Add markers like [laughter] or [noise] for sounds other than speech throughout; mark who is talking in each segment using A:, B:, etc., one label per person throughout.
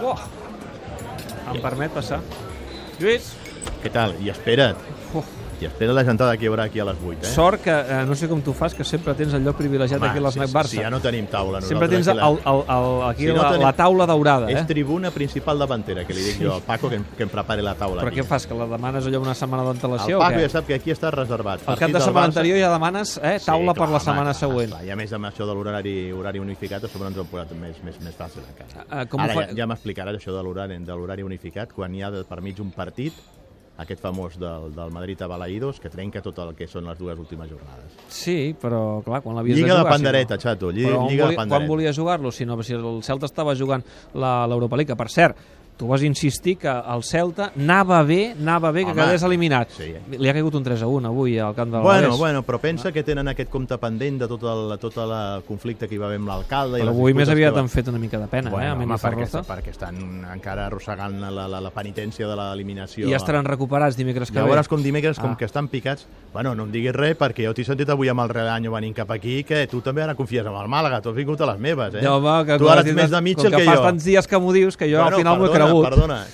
A: Buah. Em permet passar. Lluís,
B: Què tal? I espera't.
A: Uf.
B: I espera't la gentada que hi haurà aquí a les 8, eh?
A: sort que, eh, no sé com tu fas, que sempre tens el lloc privilegiat
B: Home,
A: aquí a l'Snac
B: si,
A: Barça.
B: Si ja no tenim taula.
A: sempre tens
B: nosaltres,
A: el,
B: aquí la-
A: el, el, aquí
B: Si no
A: la,
B: tenim-
A: la taula daurada,
B: És
A: eh?
B: tribuna principal davantera, que li dic jo al Paco que em, que em prepari la taula.
A: Però
B: aquí.
A: què fas, que la demanes allò una setmana
B: El
A: d'antelació o
B: Paco
A: què?
B: ja sap que aquí està reservat.
A: El cap de setmana anterior ja demanes eh, taula per la setmana següent.
B: Clar, I a més amb això de l'horari horari unificat, a sobre ens ho han posat més, més, més fàcil encara.
A: Ah, ah, com ho
B: Ara
A: fa-
B: ja, ja m'explicaràs això de l'horari de l'horari unificat, quan hi ha de, per mig un partit, aquest famós del, del Madrid a Balaïdos, que trenca tot el que són les dues últimes jornades.
A: Sí, però clar, quan l'havies de
B: Lliga
A: jugar...
B: de
A: si
B: pandereta,
A: no.
B: xato, lli-
A: Però on
B: lliga de
A: volia, quan
B: pandereta.
A: volia jugar-lo? Si, no, si el Celta estava jugant la- l'Europa League, que per cert, tu vas insistir que el Celta anava bé, anava bé, que
B: Home,
A: quedés eliminat.
B: sí.
A: Li ha caigut un 3 a 1 avui al camp de
B: Bueno,
A: l'Alavés.
B: bueno, però pensa que tenen aquest compte pendent de tot el, tot el conflicte que hi va haver amb l'alcalde. i
A: Però
B: les
A: avui més
B: disputes
A: aviat
B: que va-
A: han fet una mica de pena, eh, a
B: home,
A: Mendy
B: perquè,
A: Ferroza.
B: perquè estan encara arrossegant la, la, la penitència de l'eliminació.
A: I ja estaran recuperats dimecres que
B: Ja veuràs
A: ve.
B: com dimecres, com
A: Ah.
B: que estan picats... Bueno, no em diguis res, perquè jo t'he sentit avui amb el Redanyo venint cap aquí, que tu també ara confies en el Màlaga, tu has vingut a les meves, eh?
A: Ja, home, que
B: tu
A: quan
B: ara
A: dius-
B: ets més de Mitchell
A: com
B: que,
A: que
B: jo.
A: fa tants dies que m'ho dius que jo
B: Bueno,
A: al final m'ho he
B: perdona,
A: cregut. [laughs]
B: Perdona,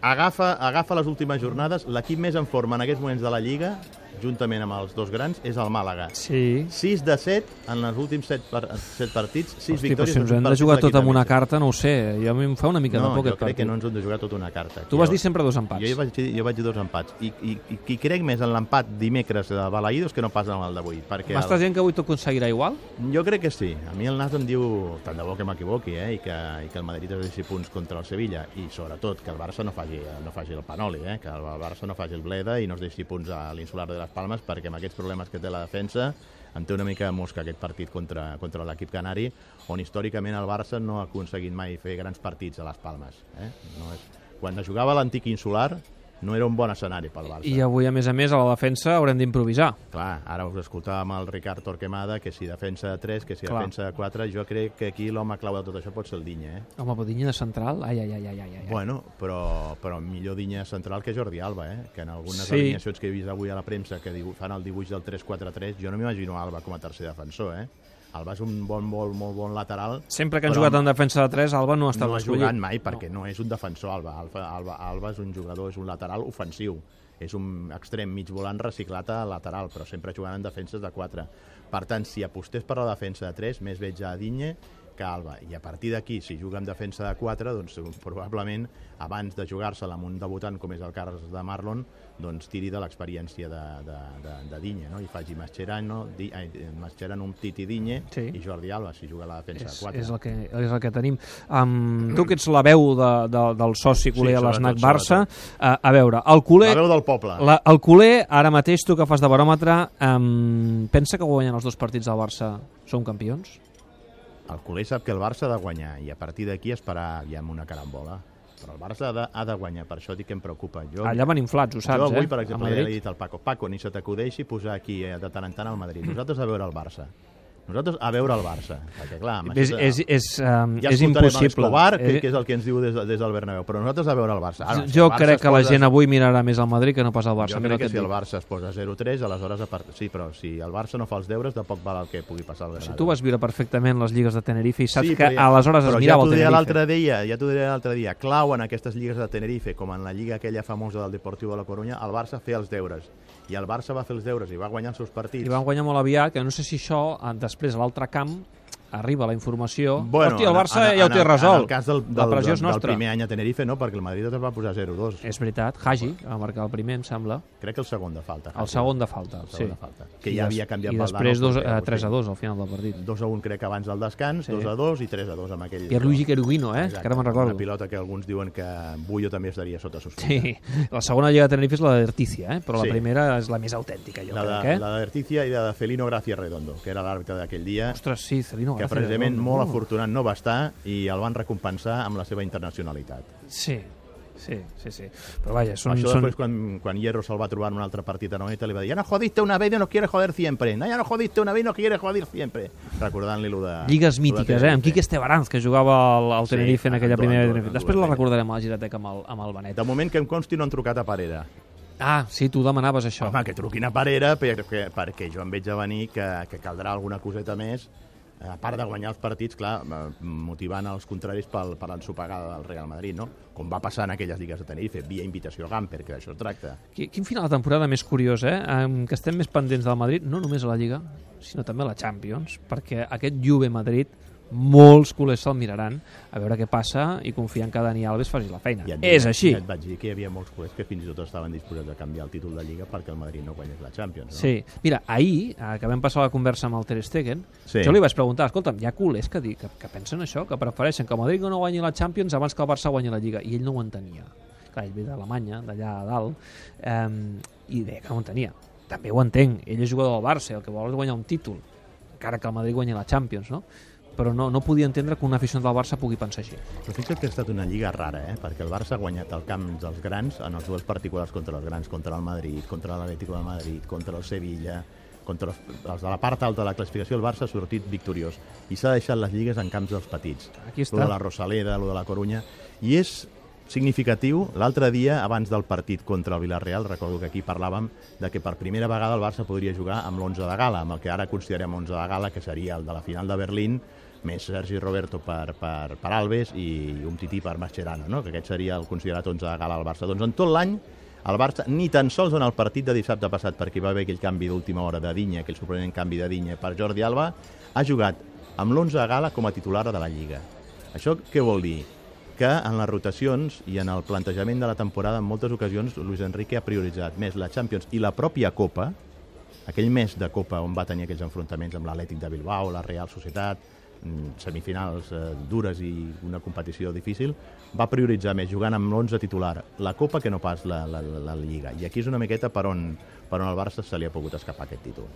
B: agafa, agafa les últimes jornades, l'equip més en forma en aquests moments de la Lliga, juntament amb els dos grans, és el Màlaga.
A: Sí.
B: 6 de 7 en els últims 7, par 7 partits,
A: Hosti,
B: 6
A: però
B: victòries...
A: si ens
B: en
A: hem de
B: partits
A: jugar tot
B: d'aquí
A: amb una
B: també.
A: carta, no ho sé. Jo a mi em fa una mica de
B: No,
A: por
B: jo
A: aquest
B: crec
A: partit.
B: que no ens hem de jugar tota una carta.
A: Tu
B: Jo-
A: vas dir sempre dos empats.
B: Jo hi vaig dir, jo vaig dir dos empats. I, i, i, i crec més en l'empat dimecres de Balaïdos que no pas en el d'avui. Perquè
A: M'estàs
B: el,
A: dient que avui t'ho aconseguirà igual?
B: jo crec que sí. A mi el Nas em diu, tant de bo que m'equivoqui, eh? I que, i que el Madrid es deixi punts contra el Sevilla. I sobretot que el Barça no faci, no faci el Panoli, eh? Que el, el Barça no faci el Bleda i no es deixi punts a l'Insular de les Palmes perquè amb aquests problemes que té la defensa em té una mica de mosca aquest partit contra, contra l'equip canari, on històricament el Barça no ha aconseguit mai fer grans partits a les Palmes. Eh? No és... Quan es jugava a l'antic insular, no era un bon escenari pel Barça.
A: I avui, a més a més, a la defensa haurem d'improvisar.
B: Clar, ara us escoltàvem el Ricard Torquemada, que si defensa 3, que si
A: Clar.
B: defensa 4, jo crec que aquí l'home clau de tot això pot ser el Dinya, eh?
A: Home, però Dinya de central... Ai, ai, ai, ai, ai, ai.
B: Bueno, però, però millor Dinya central que Jordi Alba, eh? Que en algunes
A: Sí.
B: sí. alineacions que he vist avui a la premsa que dibu- fan el dibuix del 3-4-3, jo no m'imagino Alba com a tercer defensor, eh? Alba és un bon, molt, molt bon lateral.
A: Sempre que han
B: però
A: jugat en defensa de 3, Alba no ha estat
B: no ha
A: escollit.
B: jugat mai perquè no. és un defensor Alba. Alba, Alba. Alba és un jugador, és un lateral ofensiu. És un extrem mig volant reciclat a lateral, però sempre jugant en defenses de 4. Per tant, si apostés per la defensa de 3, més veig a Digne que a Alba. I a partir d'aquí, si juga en defensa de 4, doncs probablement abans de jugar-se-la amb un debutant com és el Carles de Marlon, doncs tiri de l'experiència de, de, de, de Digne, no? I faci Mascherano, di, ai, Mascherano un Titi Digne
A: Sí.
B: i Jordi Alba, si juga a la defensa
A: És,
B: de 4.
A: és, el que, és el que tenim. Um, tu que ets la veu de, de, del soci culer a
B: sobretot,
A: l'Snac Barça, uh, a veure, el culer,
B: La veu del poble.
A: la, el culer, ara mateix tu que fas de baròmetre, um, pensa que guanyant els dos partits del Barça som campions?
B: El culer sap que el Barça ha de guanyar i a partir d'aquí esperar aviam una carambola. Però el Barça ha de, ha de guanyar, per això dic que em preocupa. Jo,
A: Allà van inflats, ho saps,
B: jo avui,
A: eh?
B: per
A: A
B: exemple, ja
A: Madrid.
B: li he dit al Paco, Paco, ni se t'acudeixi posar aquí eh, de tant en tant al Madrid. Nosaltres a veure el Barça. Nosaltres a veure el Barça. Perquè, clar, amb
A: És,
B: això de-
A: és, és, um,
B: ja
A: és
B: escoltarem
A: impossible.
B: l'Escobar, que,
A: Eh,
B: que és el que ens diu des, des del Bernabéu, però nosaltres a veure el Barça. Ara, si el
A: jo
B: Barça
A: crec
B: es
A: que la
B: posa-
A: gent avui mirarà més al Madrid que no pas al Barça.
B: jo
A: mira
B: crec que
A: què et
B: si el
A: dic.
B: Barça es posa 0-3, aleshores... A part... Sí, però si el Barça no fa els deures, de poc val el que pugui passar al Bernabéu.
A: Tu vas viure perfectament les lligues de Tenerife i saps
B: eh. Sí,
A: que
B: però ja-
A: aleshores es
B: però
A: mirava
B: ja
A: el
B: t'ho diré
A: Tenerife.
B: l'altre dia, ja t'ho diré l'altre dia. Clau en aquestes lligues de Tenerife, com en la lliga aquella famosa del Deportiu de la Corunya, el Barça feia els deures. I el Barça va fer els deures i va guanyar els seus partits.
A: I van guanyar molt aviat, que no sé si això, eh, després a l'altre camp, arriba la informació. Hosti, el
B: en-
A: Barça
B: en-
A: ja ho
B: en
A: té
B: el- En
A: resolt.
B: el cas del, del,
A: la pressió és
B: del, del
A: nostra. Eh,
B: primer any a Tenerife, no, perquè el Madrid es va posar 0-2.
A: És veritat, Hagi va marcar el primer, em sembla.
B: Crec que el segon de falta.
A: El segon de falta,
B: Ah, El
A: sí.
B: segon de falta. Que
A: I
B: ja
A: des-
B: havia canviat
A: I
B: pel
A: després
B: Dano,
A: dos,
B: perquè
A: eh,
B: ho
A: 3 a
B: sé.
A: 2 al final del partit.
B: 2 a 1 crec que abans del descans,
A: Sí.
B: 2 a 2 i 3 a 2 amb aquell...
A: Pierluigi Querubino, eh?
B: Exacte,
A: que ara me'n
B: Una
A: recordo.
B: pilota que alguns diuen que Bullo també estaria sota sospita.
A: Sí. La segona lliga de Tenerife és la de Derticia, eh? però la
B: Sí.
A: primera és la més autèntica, jo
B: La
A: crec.
B: de,
A: Eh?
B: la de Articia i la de Felino Gracia Redondo, que era l'àrbitre d'aquell dia,
A: Ostres, sí, Celino
B: que
A: García.
B: precisament
A: no?
B: molt afortunat no va estar i el van recompensar amb la seva internacionalitat.
A: Sí, sí, sí, sí. Però vaja, són...
B: Això
A: Mm, són...
B: després, quan, quan Hierro se'l va trobar en un altre partit a Noeta, li va dir «Ya no jodiste una vez y no quieres joder siempre, no, ya no jodiste una vez y no quieres joder siempre», recordant-li lo de...
A: Lligues
B: lo de
A: mítiques, eh? Amb Quique
B: Tenerife.
A: Estebaranz, que jugava al, al
B: Sí, ah, doncs,
A: Tenerife en aquella
B: Andorra,
A: primera...
B: Andorra,
A: Tenerife. Després la
B: Andorra.
A: recordarem a la girateca amb el, amb el Benet.
B: De moment que em consti no han trucat a Parera.
A: Ah, sí, tu demanaves això.
B: Home, que truquin a Parera perquè, perquè jo em veig a venir que, que caldrà alguna coseta més a part de guanyar els partits, clar, eh, motivant els contraris pel, per l'ensopegada del Real Madrid, no? Com va passar en aquelles lligues de Tenerife, via invitació a Gamper, que d'això es tracta.
A: Qui- Quin final de temporada més curiós, eh? Em- Que estem més pendents del Madrid, no només a la Lliga, sinó també a la Champions, perquè aquest Juve-Madrid molts culers se'l miraran a veure què passa i confiant que Dani Alves faci la feina.
B: et
A: És
B: dic-
A: així.
B: Ja et vaig dir que hi havia molts clubs que fins i tot estaven disposats a canviar el títol de Lliga perquè el Madrid no guanyés la Champions. No?
A: Sí. Mira, ahir, eh, que vam passar la conversa amb el Ter Stegen,
B: Sí.
A: jo li vaig preguntar, escolta'm, hi ha culers que, di- que, que pensen això, que prefereixen que el Madrid no guanyi la Champions abans que el Barça guanyi la Lliga, i ell no ho entenia. Clar, ell ve d'Alemanya, d'allà a dalt, eh, i deia que no ho entenia. També ho entenc, ell és jugador del Barça, el que vol és guanyar un títol, encara que el Madrid guanyi la Champions, no? Però no, no podia entendre que un aficionat del Barça pugui pensar així.
B: Però fixa't que ha estat una lliga rara, eh? perquè el Barça ha guanyat el camp dels grans en els duels particulars contra els grans, contra el Madrid, contra l'Atlético de Madrid, contra el Sevilla, contra els, els de la part alta de la classificació, el Barça ha sortit victoriós i s'ha deixat les lligues en camps dels petits.
A: Aquí està.
B: Lo de la Rosaleda, lo de la Corunya, i és significatiu, l'altre dia, abans del partit contra el Villarreal, recordo que aquí parlàvem de que per primera vegada el Barça podria jugar amb l'11 de gala, amb el que ara considerem 11 de gala, que seria el de la final de Berlín, més Sergi Roberto per, per, per Alves i un tití per Mascherano, no? que aquest seria el considerat 11 de gala al Barça. Doncs en tot l'any el Barça ni tan sols en el partit de dissabte passat, perquè hi va haver aquell canvi d'última hora de Dinya, aquell sorprenent canvi de Dinya per Jordi Alba, ha jugat amb l'11 de gala com a titular de la Lliga. Això què vol dir? Que en les rotacions i en el plantejament de la temporada, en moltes ocasions, Luis Enrique ha prioritzat més la Champions i la pròpia Copa, aquell mes de Copa on va tenir aquells enfrontaments amb l'Atlètic de Bilbao, la Real Societat, mm, semifinals eh, dures i una competició difícil, va prioritzar més jugant amb l'11 titular la Copa que no pas la, la, la, la Lliga. I aquí és una miqueta per on, per on al Barça se li ha pogut escapar aquest títol.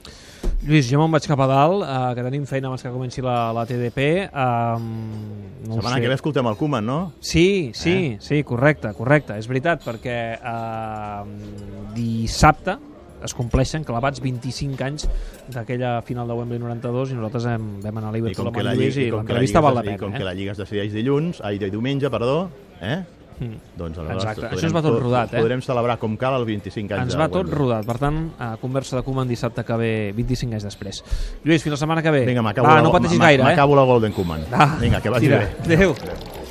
A: Lluís, jo me'n vaig cap a dalt, eh, que tenim feina abans que comenci la, la TDP. Eh, no ho
B: Setmana
A: sé.
B: que ve escoltem el Koeman, no?
A: Sí, sí, eh? sí, correcte, correcte, és veritat, perquè eh, dissabte es compleixen clavats 25 anys d'aquella final de Wembley 92 i nosaltres hem, vam anar a
B: I
A: Liverpool
B: com
A: amb
B: que
A: en
B: la,
A: Lluís
B: lliga,
A: i
B: i com que la,
A: l'entrevista
B: lliga,
A: val la
B: es- i com
A: pena.
B: que
A: Eh?
B: la lliga es decideix dilluns, ai, de diumenge, perdó, eh?
A: Mm.
B: Doncs
A: Exacte,
B: podrem-
A: això es va tot
B: po-
A: rodat, eh?
B: Podrem celebrar com cal el 25 anys
A: Ens
B: de
A: va tot
B: Wembley.
A: rodat, per tant, eh, conversa de Koeman dissabte que ve 25 anys després. Lluís, fins la setmana que ve.
B: Vinga, m'acabo
A: Va,
B: la,
A: no pateixis
B: m'a-
A: gaire, eh?
B: M'acabo la Golden Koeman. Vinga, que vagi
A: tira.
B: bé.
A: Adéu.
B: Adéu.